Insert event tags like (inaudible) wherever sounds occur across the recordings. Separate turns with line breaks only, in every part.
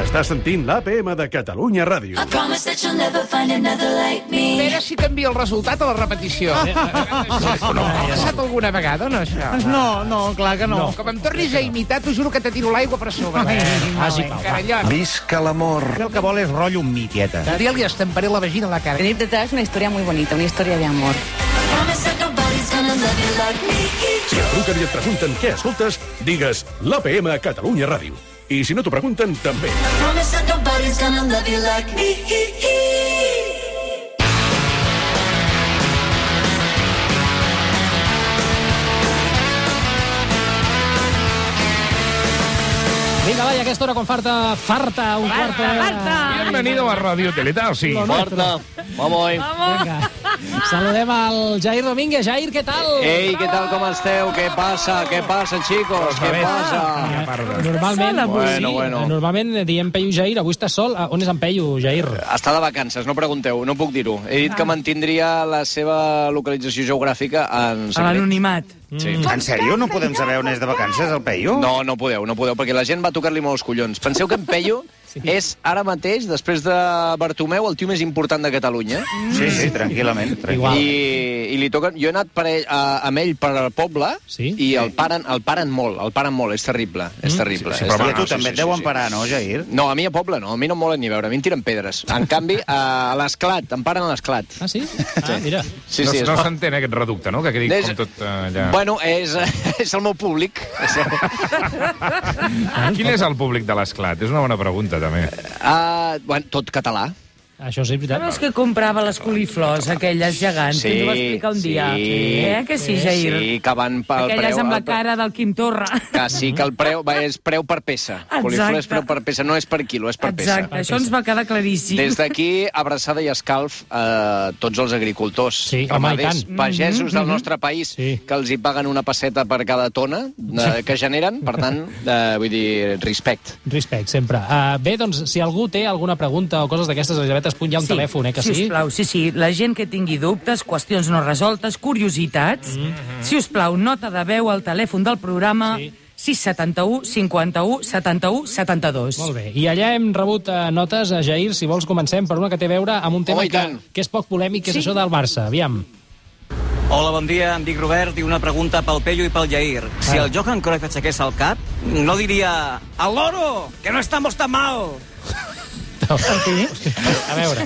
Estàs sentint l'APM de Catalunya Ràdio.
I promise that you'll never find another like me.
Espera si canvia el resultat a la repetició. No, ha passat alguna vegada, no, això?
No, no, clar que no.
Com em tornis a imitar, t'ho juro que te tiro l'aigua per sobre. Vas i pau. Carallot.
Visca l'amor.
El que vol és rotllo amb mi, tieta.
Daniel, li estamparé la vagina a la cara.
Venir detrás una historia muy bonita, una historia de amor.
I promise that nobody's gonna love you like me.
Si et truquen i et pregunten què escoltes, digues l'APM a Catalunya Ràdio. I si no t'ho pregunten, també.
I promise that nobody's gonna love you like me. (laughs)
Vinga, vai, aquesta hora com farta, farta, un quart d'hora.
Ah.
Bienvenido a Radio Teletarsi.
Porta, vamos.
Vinga. Saludem al Jair Domínguez. Jair, què tal?
Ei, què tal, com esteu? Què passa? Què passa, xicos? Què passa?
Normalment,
Bueno, bueno.
Eh, normalment diem Peyu Jair, avui estàs sol. Ah, On és en Peyu, Jair?
Està de vacances, no pregunteu, no puc dir-ho. He dit que mantindria la seva localització geogràfica en
A
secret.
l'anonimat.
Sí.
En sèrio? No podem saber on és de vacances, el Peyu?
No, no podeu, no podeu, perquè la gent va tocar-li molt els collons. Penseu que en Peyu sí. és ara mateix, després de Bartomeu, el tio més important de Catalunya.
Sí, sí, tranquil·lament. tranquil·lament.
Igual.
I, i li toquen... Jo he anat per ell, a, amb ell per al poble
Sí?
i el paren, el paren molt, el paren molt, és terrible, és terrible.
Sí,
és
però a
terrible.
tu també et deuen parar, no, Jair?
No, a mi a poble no, a mi no em molen ni veure, a mi em tiren pedres. En canvi, a l'esclat, em paren a l'esclat.
Ah, sí? Ah, mira.
Sí, sí, és...
no s'entén eh, aquest reducte, no? Que quedi
Des-
com tot eh, allà.
Bueno, és, (laughs) és el meu públic. És el...
Ah, Quin és el públic de l'esclat? És una bona pregunta, també.
Uh, bueno, tot català.
Això sí, és
Són els
veritat.
que comprava les coliflors, aquelles gegants, que ens ho va explicar un
sí,
dia. Eh, que sí, Jair?
Sí, que van pel
Aquelles
preu...
amb la
el-
cara del Quim Torra.
Que sí, que el preu va, és preu per peça.
Exacte.
Coliflor és preu per peça, no és per quilo, és per peça.
Exacte, això ens va quedar claríssim.
Des d'aquí, abraçada i escalf a tots els agricultors,
Sí, home, i
ramaders,
tant.
pagesos del nostre país,
Sí.
que els hi paguen una pesseta per cada tona eh, que generen. Per tant, eh, vull dir, respect.
Respect, sempre. Uh, bé, doncs, si algú té alguna pregunta o coses d'aquestes, Elisabet Espuny, hi ha un telèfon, eh, que sí?
Sisplau, sí, sí. La gent que tingui dubtes, qüestions no resoltes, curiositats, mm -hmm. si us plau, nota de veu al telèfon del programa
Sí.
sí. 671 51 71 72.
Molt bé. I allà hem rebut eh, notes, a Jair, si vols comencem, per una que té a veure amb un tema
Home, i
que,
tant.
que és poc polèmic, que és això del Barça. Aviam.
Hola, bon dia, em dic Robert i una pregunta pel Pello i pel Jair. Si
Ah.
el Johan Cruyff aixequés el cap, no diria «Al loro, que no estamos tan mal!»
A veure.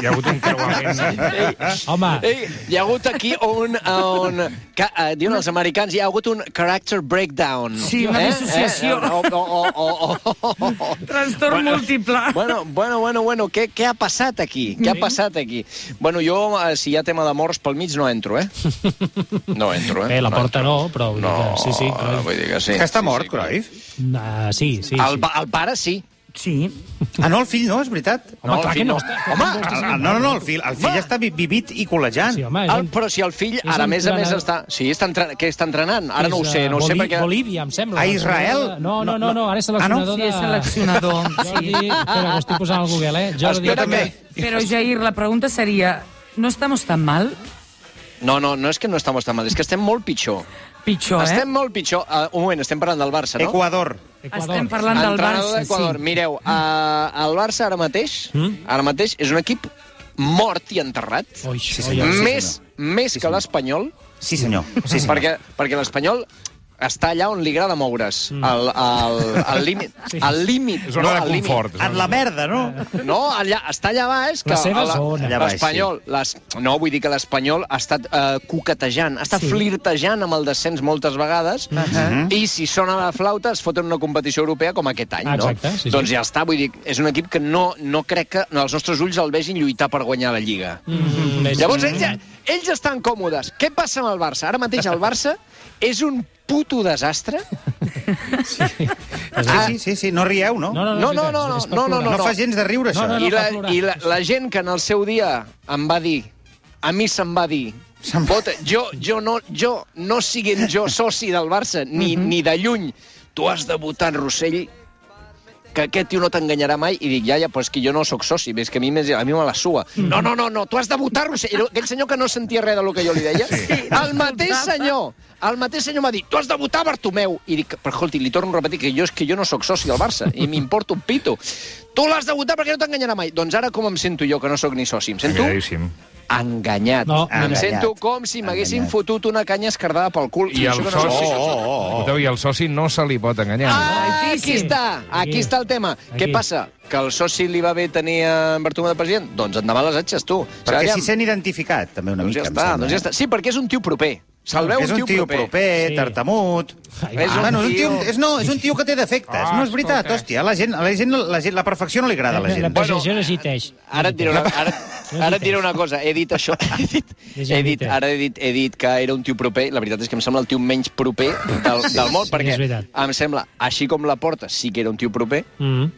Hi ha hagut un creuament. eh?
Home,
Ei, Eh, hi ha hagut aquí on... on que, eh, diuen els americans, hi ha hagut un character breakdown.
Sí, una dissociació.
Eh? O, o, o, o, o, o.
Trastorn bueno, múltiple.
Bueno, bueno, bueno, bueno, què, què ha passat aquí? Què ha passat aquí? Bueno, jo, eh, si hi ha tema de morts pel mig, no entro, eh? No entro, eh?
bé, la
No
porta
entro.
no, però... vull dir
No,
que- sí, sí, però...
vull dir que sí.
Que està mort,
sí, sí,
Cruyff?
Ah, sí, sí.
El,
sí.
pa- el pare sí.
Sí.
Ah, no, el fill no, és veritat?
Home,
el
clar
fill
que no.
Home, ah,
El- el- No, no, no, el fill, el fill està vi- vivit i col·legiant.
Sí, home, és
el,
un...
però si el fill,
És
ara, a més a més,
entrenador.
està... Sí, està entrenant. Què està entrenant? Ara no ho
és,
sé,
eh,
no ho sé
Bolí-
perquè...
Bolívia, em sembla.
A Israel?
No, no, no, no, ara és
Ah, no?
seleccionador
Sí, és
de...
seleccionador.
(laughs) Jordi, espera, que ho estic posant al Google, eh? Jordi,
Jo també.
Però, Jair, la pregunta seria... No estamos tan mal?
No, no, no és que no estamos tan mal, és que estem molt pitjor.
Pitjor,
estem
eh?
molt pitjor. Uh, un moment, estem parlant del Barça, no?
Equador.
Equador.
Estem parlant del
Entrenador
Barça,
d'Equador.
sí.
Mireu, uh, el Barça ara mateix, mm? ara mateix és un equip mort i enterrat.
Ui, sí,
senyor.
oi,
més més que l'Espanyol,
Sí, senyor. Sí,
sí,
(laughs) senyor.
perquè, perquè l'Espanyol està allà on li agrada moure's,
Mm.
al, al, al
(laughs)
límit. Al límit.
És zona
no,
de
al límit.
confort.
En la merda, no?
No, allà, està allà baix. Que
La seva
a la-
zona.
Allà baix,
L'Espanyol, les, no, vull dir que l'Espanyol ha estat eh, coquetejant, ha estat sí. flirtejant amb el descens moltes vegades,
Ah.
uh
Ah. Mm-hmm. Mhm.
-huh. i si sona la flauta es foten en una competició europea com aquest any,
Exacte,
no?
sí, sí.
Doncs ja està, vull dir, és un equip que no, no crec que els nostres ulls el vegin lluitar per guanyar la Lliga.
Mm, més-
Llavors, ells, ja- ells estan còmodes. Què passa amb el Barça? Ara mateix el Barça és un puto desastre.
Sí, sí, sí, sí, no rieu, no?
No, no, no,
No,
és
no,
veritat,
no,
és per
no, no,
plorar.
No fa gens de riure,
No,
això. eh?
no,
I, la,
fa plorar.
i la, la gent que en el seu dia em va dir a mi se'm va dir
Se'm-
Bota, jo, jo, no, jo no siguin jo soci del Barça ni, ni de lluny tu has de votar en Rossell que aquest tio no t'enganyarà mai, i dic, iaia, però és que jo no sóc soci, és que a mi, més, a mi me la sua.
Mm.
No, no, no, no, tu has de votar-lo. Era Aquell senyor que no sentia res del que jo li deia, sí. el mateix senyor, el mateix senyor m'ha dit, tu has de votar Bartomeu. I dic, però escolti, li torno a repetir que jo és que jo no sóc soci del Barça, i m'importa un pito. Tu l'has de votar perquè no t'enganyarà mai. Doncs ara com em sento jo, que no sóc ni soci? Em sento
Enganyadíssim.
enganyat.
No,
em
enganyat.
sento com si m'haguessin fotut una canya escardada pel cul.
I el
això que no
Oh,
soci...
soc
Escolteu, I el soci no se li pot enganyar.
Ah, aquí està, aquí està el tema. Què passa? Que el soci li va bé tenir en Bartomeu de president? Doncs endavant les atxes, tu.
Perquè
Aviam.
s'hi sent identificat, també, una
Doncs ja
mica, em
està,
sembla. eh?
doncs ja està. Sí, perquè és un tio proper. Salveu
Perquè és un tio proper, Sí. tartamut...
És un
bueno, és un tio,
tio-
és, no, és un tio que té defectes.
Ah,
no és veritat,
escolta.
hòstia. La, gent, la, gent, la, gent, la perfecció no li agrada a la gent.
La precisió no existeix.
Ara et diré una, ara, ara et diré una cosa. He dit això. He dit, he dit, ara he dit, he dit que era un tio proper. La veritat és que em sembla el tio menys proper del,
Sí,
del món,
sí,
perquè
és veritat.
em sembla, així com la porta sí que era un tio proper,
Mm.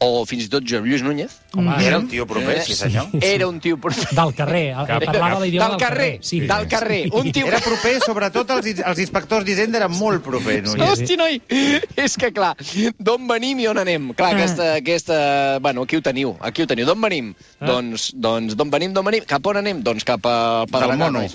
o fins i tot Joan Lluís Núñez.
Home,
Era un
tio proper, sí, senyor.
Era un tio proper.
Del carrer, el-
Cap-
parlava
cap-
l'idioma
del
del
carrer,
carrer. Sí.
del carrer. Un tio...
Era proper, sobretot, els, els inspectors d'Hisenda eren molt propers.
Sí, Hosti, noi, és que clar, d'on venim i on anem? Clar, aquesta, aquesta... Bueno, aquí ho teniu, aquí ho teniu. D'on venim?
Ah.
Doncs, doncs d'on venim, d'on venim? Cap on anem? Doncs cap al
Del
Pedregar,
mono.
nois.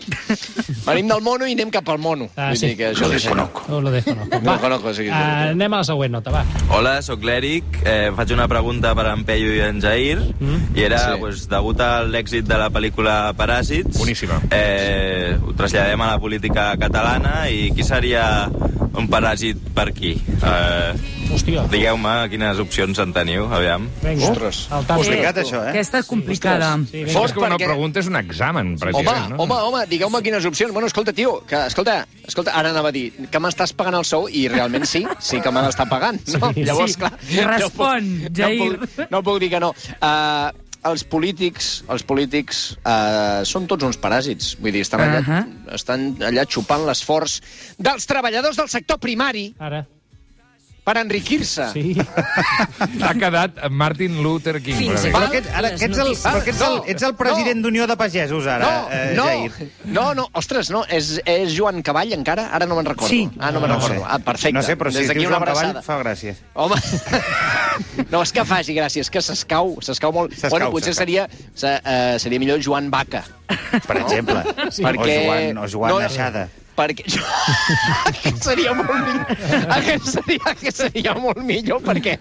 Venim del mono i anem cap al mono.
Ah,
Vull
sí.
dir que això
Lo
sí, senyor.
No, lo dejo, no.
No ho conozco, o sigui,
Ah, anem a la següent nota, va.
Hola, sóc l'Eric. Eh, faig una pregunta per en Peyu i en Jair. Mm? I era,
Sí.
sí. pues, degut a l'èxit de la pel·lícula Paràsits... Boníssima. Eh, ho traslladem a la política catalana i qui seria un paràsit per qui? Eh,
Hòstia.
Digueu-me quines opcions en teniu, aviam.
Vinga. Ostres. Al tanto.
Complicat, això, eh?
Aquesta és complicada.
Sí,
És que una
perquè-
pregunta és un examen,
Home,
president,
no?
no?
home, home, digueu-me quines opcions. Bueno, escolta, tio, que, escolta, escolta, ara anava a dir que m'estàs pagant el sou i realment sí, sí que me l'està pagant. No?
Sí.
Llavors,
Sí.
clar...
Respon,
no
Jair.
puc, no puc, no puc dir que no. Uh, els polítics, els polítics uh, són tots uns paràsits. Vull dir, estan allà, uh -huh. estan allà xupant l'esforç dels treballadors del sector primari
Ara.
per enriquir-se.
Sí.
Ha quedat Martin Luther King.
Fins i
president.
tot
Però aquest, ara, que ets el, però que ets el, ets el president d'Unió de Pagesos, ara,
No,
eh,
no,
Jair.
no, no, ostres, no, és, és Joan Cavall encara? Ara no me'n recordo.
Sí.
Ah, no me'n
No
recordo.
sé.
Ah, perfecte.
No sé, però si
Des
es
d'aquí
diu
una
Joan Cavall,
abraçada.
fa gràcia.
Home, (laughs) no, és que faci gràcia, és que s'escau, s'escau molt.
S'escau,
bueno, potser
s'escau.
seria, se, uh, seria millor Joan Baca.
Per exemple.
Sí.
Perquè...
Perquè-
O Joan, o Joan
no,
no, Aixada.
Perquè jo... (laughs) aquest seria molt millor. Aquest seria, aquest seria molt millor, perquè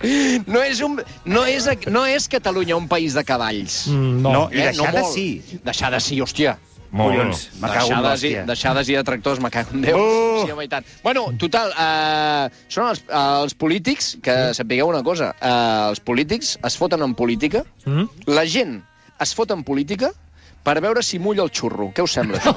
no és, un, no és, no és Catalunya un país de cavalls. Eh,
Mm, no. No, i deixada
molt.
sí.
Deixada sí, hòstia.
Molt. Collons, me cago en
deixades, i,
l'hòstia.
deixades i detractors, me cago en Déu.
Oh!
Sí, home, i tant. Bueno, total, eh, són els, els polítics, que sapigueu una cosa, eh, els polítics es foten en política,
Mm-hmm.
Mm?
la gent es fot en política per veure si mulla el xurro. Què us sembla,
(laughs)
això?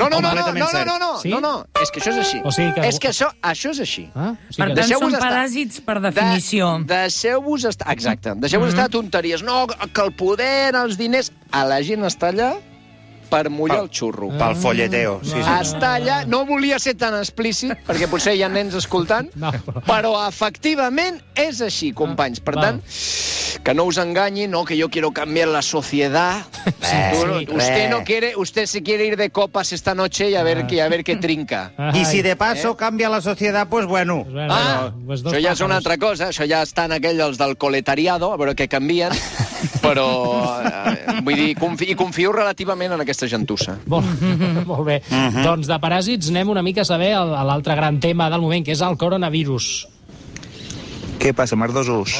No, no, no, no, no,
Completament
no,
cert.
no, no,
Sí?
no, no, és que això és així.
O sigui que-
És que això, això és així. Ah,
sigui Per que- tant, són paràsits per definició. Mhm.
De, deixeu-vos estar... Exacte, deixeu-vos mm -hmm. estar tonteries. No, que el poder, els diners... A la gent està allà per mullar el xurro.
Pel folleteo,
Mm.
sí, sí.
Està allà, no volia ser tan explícit, perquè potser hi ha nens escoltant, no, però efectivament és així, companys. Per tant, que no us enganyi, no, que yo quiero cambiar la sociedad. Tú-
sí.
usted
Eh.
no quiere, usted se quiere ir de copas esta noche y a
Ah.
ver, que, a ver qué trinca.
I si de paso canvia la societat, pues bueno.
Ah, això ja és una altra cosa, això ja estan aquells els del coletariado, a veure què canvien, però eh, vull dir, confi i confio relativament en aquesta gentussa.
Molt, molt bé.
Mhm.
Doncs de paràsits anem una mica a saber el- a l'altre gran tema del moment, que és el coronavirus.
Què passa, merdosos?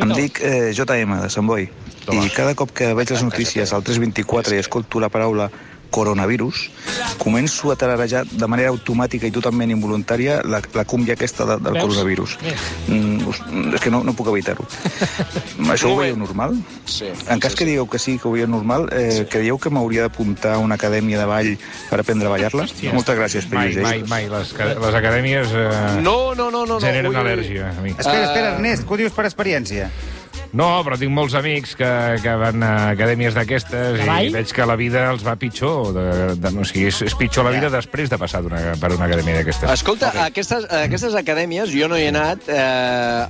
Em dic eh, JM, de Sant Boi, i cada cop que veig les notícies al 324 i escolto la paraula coronavirus, començo a tararejar de manera automàtica i totalment involuntària la, la cúmbia aquesta de, del
Veus?
coronavirus.
Bé.
Mm, us- mm, és que no, no puc evitar-ho. Això ho veieu normal?
Sí.
En cas que digueu que sí, que ho veieu normal, eh, creieu que m'hauria d'apuntar a una acadèmia de ball per aprendre a ballar-la?
Hòstia.
Moltes gràcies, eh?
Mai,
Pellus.
mai, mai. Les, ca- les acadèmies eh,
No, no, no, no. no.
generen
Ui, ui, ui.
al·lèrgia a mi.
Espera,
Eh.
espera, Ernest, que ho dius per experiència.
No, però tinc molts amics que, que van a acadèmies d'aquestes i
Cavall?
veig que la vida els va pitjor. De, de, no, o sigui, és, és pitjor la vida després de passar d'una per una acadèmia d'aquestes.
Escolta, okay. aquestes, eh, aquestes acadèmies, jo no hi he anat, eh,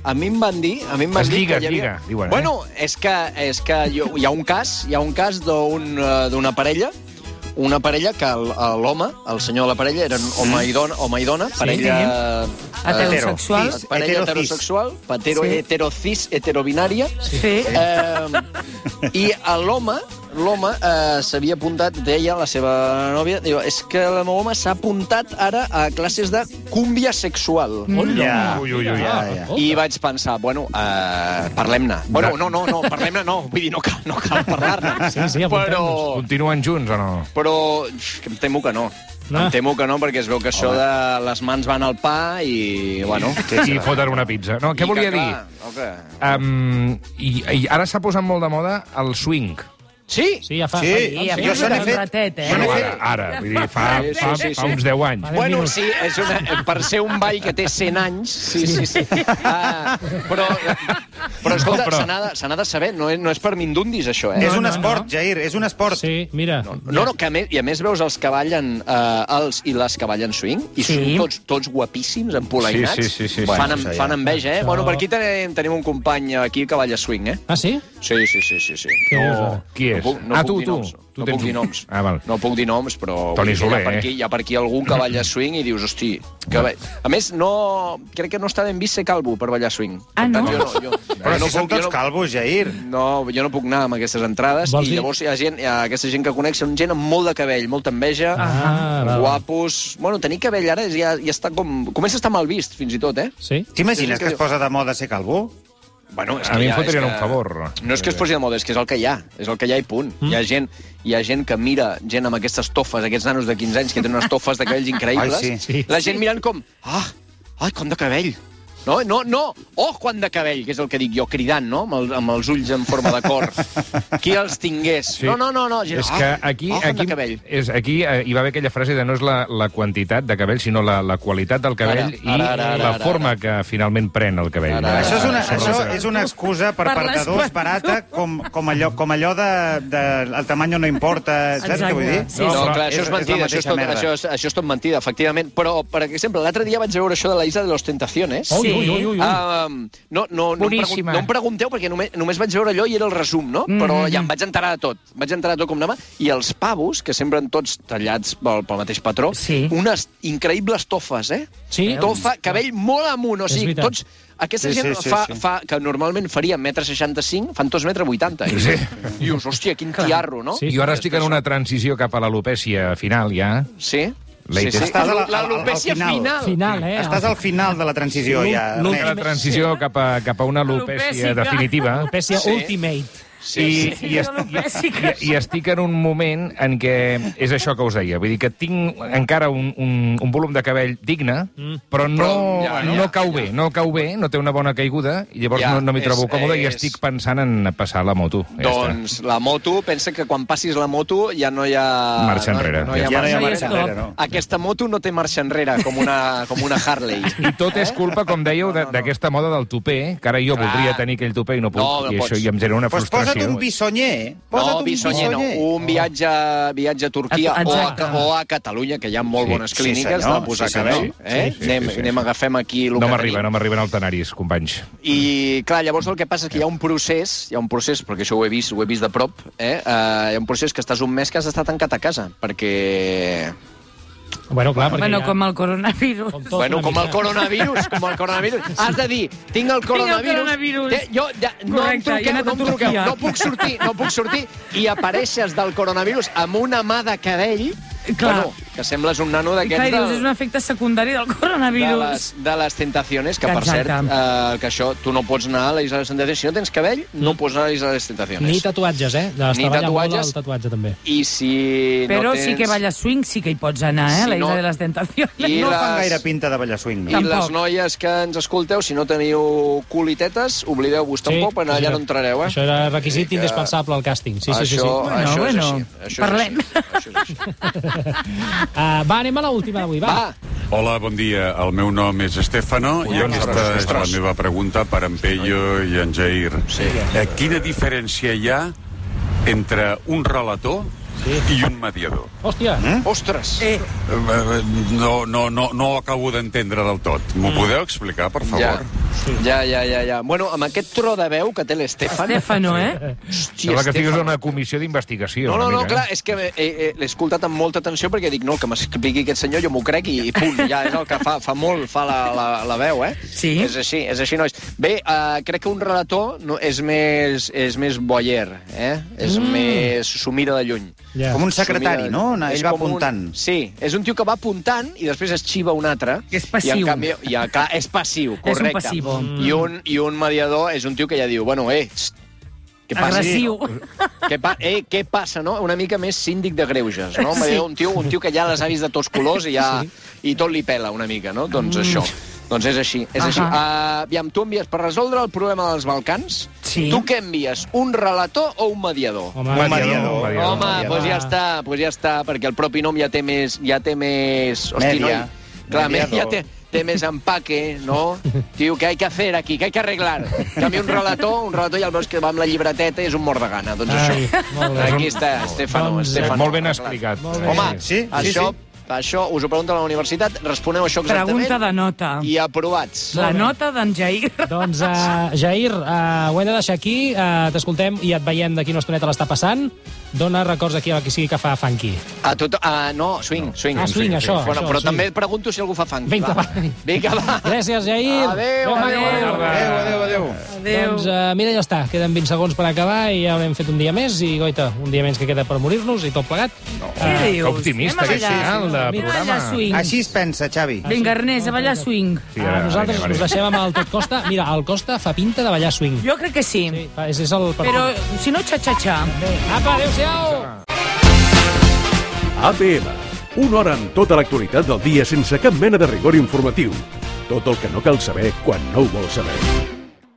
a mi em van dir... A mi em van
Es
dir
lliga,
que hi havia...
es lliga, diuen, eh?
Bueno, és que, és que jo, hi ha un cas, hi ha un cas d'un, eh, d'una parella una parella que el- el- l'home, el, senyor de la parella, eren home
Mm.
i dona, home i dona
Sí.
parella...
Sí. Heterosexual.
eh, Parella
Heterocis.
heterosexual, hetero,
Sí.
heterocis, heterobinària.
Sí.
Eh, I a l'home, l'home eh, s'havia apuntat, deia la seva nòvia, diu, és que el meu home s'ha apuntat ara a classes de cúmbia sexual.
Mm. Ja. Ui, ui, ui, ja, ja.
I vaig pensar, bueno, eh, parlem-ne. Bueno, no, no, no, parlem-ne no. Vull dir, no cal, no cal parlar-ne.
Sí, sí,
però,
apuntem-nos. Continuen junts o no?
però ff, em temo que no.
Ah.
Em temo que no, perquè es veu que això de les mans van al pa i, bueno...
I foten una pizza. No, què
I
volia
que,
dir?
clar, no, que...
Um, i, I ara s'ha posat molt de moda el swing.
Sí?
Sí, ja
fa- Sí, fa- sí, jo se n'he fet. Bueno, ara, ara, vull dir, fa,
Sí, sí,
fa,
sí, sí.
fa uns 10 anys.
Bueno, sí, és una, per ser un ball que té 100 anys, sí, sí, sí. Ah, però, però escolta, no,
No, però-
però... se n'ha de, se n'ha de saber, no és, no és per mindundis, això, eh?
És un esport, Jair, és un esport.
Sí, mira. No,
No, no, que a més, i a més veus els que ballen eh, els i les que ballen swing, i sí. són tots, tots guapíssims, empolainats.
Sí, sí, sí, sí, sí.
fan,
Bueno,
em,
això
fan
ja.
enveja, eh?
Això-
Bueno, per aquí tenim, tenim un company aquí que balla swing, eh?
Ah, sí?
Sí, sí, sí, sí. sí.
Què dius, ara? qui és?
No puc, no
Ah,
puc
tu,
dir
tu.
Noms,
Tu
no
tens
puc dir
un-
noms.
Ah, val.
No puc dir noms, però...
Toni
vull dir,
Soler,
hi ha per aquí,
eh?
Hi ha per aquí algú que balla swing i dius, hosti... Que... ba- A més, no... crec que no està ben vist ser calvo per ballar swing.
Ah,
Per tant,
no?
Jo no, jo,
Però si són tots
calvos, Jair. No, jo no puc anar amb aquestes entrades
Vols
i
dir-
llavors hi ha, gent, hi ha aquesta gent que conec, són gent amb molt de cabell, molta enveja,
Ah, val.
guapos... Bueno, tenir cabell ara ja, ja està com... Comença a estar mal vist, fins i tot, eh?
Sí?
T'imagines que es posa de moda ser calvo?
Bueno, és
A
que
mi em
ja, és
fotrien
que-
un favor.
No és que es posi de moda, és que és el que hi ha. És el que hi ha i punt. Mm. Hi, ha gent, hi ha gent que mira gent amb aquestes tofes, aquests nanos de 15 anys que tenen unes tofes de cabells increïbles.
Ai, sí, sí.
La gent mirant com... Ah, ai, com de cabell. No, no, no. Oh, quant de cabell, que és el que dic jo, cridant, no? Amb, el, amb els ulls en forma de
(laughs)
cor. Qui els tingués?
Sí.
No, no, no. no. Gent,
És que
ah,
aquí,
oh, quant de
aquí,
cabell.
és, aquí eh, hi va haver aquella frase de no és la, la quantitat de cabell, sinó la, la qualitat del cabell
Ara, ara,
i
ara, ara,
la
ara,
forma que finalment pren el cabell.
Això és, una,
Sobre
això
el-
és una excusa per
Per
partadors
l'espanto.
barata, com, com, allò, com allò de, de el tamany no importa, saps què vull dir?
no, clar, això és
la
mentida, això és,
mateixa
tot,
merda.
això, és, això és tot mentida, efectivament. Però, per exemple, l'altre dia vaig veure això de la Isla de les Tentaciones.
Ui, ui, ui, ui, ui.
Um, no, no, no, em pregun-
Boníssima.
no em pregunteu, perquè només, només vaig veure allò i era el resum, no?
Mhm.
Però ja em vaig enterar de tot. Vaig enterar de tot com anava. I els pavos, que semblen tots tallats pel, pel mateix patró, sí. unes increïbles tofes, eh?
Sí.
Tofa, cabell molt amunt, o
És
sigui,
veritat.
tots... Aquesta
Sí,
gent
sí, sí,
fa,
sí.
fa, que normalment faria 1,65 m, fan 2,80 m. Sí. I eh? dius, hòstia, quin tiarro, no?
Jo ara estic en una transició cap a l'alopècia final, ja.
Sí?
Latest.
Sí, sí. Estàs a la-
L'alopècia
al final.
final.
Final, eh? Estàs al final de la transició,
L'ú-
ja.
l'última
Ernest.
transició cap a, cap a una alopècia
Alopècia.
definitiva.
Alopècia Sí.
ultimate.
Sí, I,
sí,
i,
sí,
est i,
alopècia.
i estic en un moment en què és això que us deia. Vull dir que tinc encara un, un, un volum de cabell digne, però no,
Però
ja,
ja,
no,
no?
no cau bé, no cau bé, no té una bona caiguda, i llavors
Ja,
ja, no, no m'hi
és-
trobo còmode i
és-
estic pensant en passar la moto. Ja està.
Doncs la moto, pensa que quan passis la moto ja no hi ha...
Marxa enrere.
No, no hi ha
Ja no hi ha
marxa,
marxa
enrere,
enrere, no.
Aquesta moto no té marxa enrere, com una, com
(laughs)
una Harley.
I tot és culpa, com
(laughs)
dèieu, de- d'aquesta moda del tupé, que ara jo
Clar.
voldria tenir aquell tupé i no puc,
No, no
i això
pots.
ja em genera una
Pues
frustració.
Doncs posa't un bisonyer. Posa't
eh? No,
un
Bisonyer no.
bisonyer.
Un viatge, viatge a Turquia o a,
Exacte.
o a Catalunya, que hi ha molt
Sí.
bones
Sí,
clíniques
senyor,
de posar
sí, senyor.
cabell. Eh?
Sí, sí, sí,
anem,
sí.
anem, agafem aquí el
No
que
m'arriben, no m'arriben els tenaris, companys.
I, clar, llavors el que passa és que hi ha un procés, hi ha un procés, perquè això ho he vist, ho he vist de prop, eh? Uh, hi ha un procés que estàs un mes que has d'estar tancat a casa, perquè...
Bueno, clar, perquè
Bueno,
ja...
com el coronavirus. Com
bueno, com el coronavirus, com el coronavirus. Has de dir, tinc el
el
coronavirus.
coronavirus.
Té- jo ja, no
Correcte,
em
i he
truqueu,
anat
no
a
em truqueu,
Turquia.
no puc sortir, no puc sortir. I apareixes del coronavirus amb una mà de cabell,
Clar.
bueno, que sembles un nano
I clar,
d'aquests...
i dius,
del-
és un efecte secundari del
de
coronavirus.
les, de les tentaciones, que per
Exacte.
cert, eh, que això, tu no pots anar a la Isla de les Tentaciones. Si no tens cabell,
Mm.
no pots anar a la Isla de les Tentaciones.
Ni tatuatges, eh? Es
Ni
treballa molt
tatuatges.
el tatuatge, també.
I si
Però
no tens...
sí que ballar swing sí que hi pots anar, eh?
Si
Si la Isla
no-
de les Tentacions.
I
No
les-
fan gaire pinta de ballar swing,
I
no?
les noies que ens escolteu, si no teniu cul i tetes, oblideu-vos tampoc, per anar allà
això-
no entrareu, eh?
Això era requisit
Vull dir que-
indispensable al càsting. Sí, sí, sí, sí.
Això- Bueno, això és bueno, així,
és
això és
Parlem. Uh, va, anem a l'última d'avui, va. va.
Hola, bon dia. El meu nom és Estefano i aquesta és la meva pregunta per en Pello i en Jair. Eh, Quina diferència hi ha entre un relator i un mediador?
Hòstia.
Mm?
Ostres.
Eh,
Mm.
eh, No, no, no, no ho acabo d'entendre del tot. M'ho podeu explicar, per favor? Ja.
Ja, ja, ja, ja. Bueno, amb aquest tro de veu que té l'Estefan...
eh?
Eh?
(laughs)
Hòstia,
Sembla que
Estefano.
estigues a una comissió d'investigació.
No, no,
una
no,
mica,
clar,
eh?
és que eh, eh, l'he escoltat amb molta atenció perquè dic, no, el que m'expliqui aquest senyor jo m'ho crec i, i punt, ja és el que fa, fa molt, fa la, la, la veu, eh?
Sí.
És així, és així, nois. Bé, eh, crec que un relator no, és més, és més boyer, eh? És
Mm.
mm. més... s'ho mira de lluny.
Ja. Com un
S'ho mira
secretari,
de-
no? Ell
és
va
com
apuntant.
Un, sí, és un tio que va apuntant i després es xiva un altre.
És
I
passiu.
en canvi, i en, clar, és passiu,
És un
correcte.
passivo.
I un, I un mediador és un tio que ja diu, bueno, eh, txt, què passa?
Agressiu.
Què, pa eh, què passa, no? Una mica més síndic de greuges, no?
Sí.
Sí. Un, tio, un tio que ja les ha vist de tots colors i, ja, sí. i tot li pela una mica, no? Doncs
Mm.
mm. això. Doncs és així, és
Ahà.
així. Uh, aviam, tu envies per resoldre el problema dels Balcans?
Sí.
Tu què envies, un relator o un mediador?
Un mediador. mediador.
Home,
mediador.
doncs pues ja està, pues ja està, perquè el propi nom ja té més... Ja té més... Hosti,
Media.
noi, Clar, me-
Mediador.
(laughs) ja té, té més empaque, no? Tio, què hay que hacer aquí? Què hay que arreglar? En canvi, un relator, un relator ja el veus que va amb la llibreteta i és un mort de gana. Doncs
Ai, molt
això.
bé.
Aquí està, Estefano.
Doncs, eh,
Estefano
molt ben
arreglat.
explicat. Molt bé.
Home,
Sí, sí,
això, això us ho pregunta la universitat, responeu això exactament.
Pregunta de nota.
I aprovats.
La nota d'en Jair.
Doncs, uh, Jair, uh, ho hem de deixar aquí. Uh, T'escoltem i et veiem d'aquí una estoneta l'està passant. Dona records aquí a qui sigui que fa funky.
A tot, a, no, swing, swing.
Ah, swing, això,
Bueno,
això,
però
swing.
també pregunto si algú fa funk.
Vinga,
va. Vinga, va.
Gràcies, Jair.
Adéu,
Bona
adéu, adéu.
tarda.
Adéu, adéu, adéu.
Doncs uh, mira, ja està. Queden 20 segons per acabar i ja haurem fet un dia més. I, goita, un dia menys que queda per morir-nos i tot plegat. No.
Què dius? Anem a ballar. Anem a ballar swing.
Així es pensa, Xavi.
Vinga, Ernest, a ballar swing.
Sí,
Ah,
ara, nosaltres
vinga,
us
va.
deixem amb el Tot Costa. Mira, el Costa fa pinta de ballar swing.
Jo crec que sí.
sí fa- és, és el...
Però, si no, xa-xa-xa.
Apa, adéu-siau!
APM. Una hora amb tota l'actualitat del dia sense cap mena de rigor informatiu. Tot el que no cal saber quan no ho vols saber.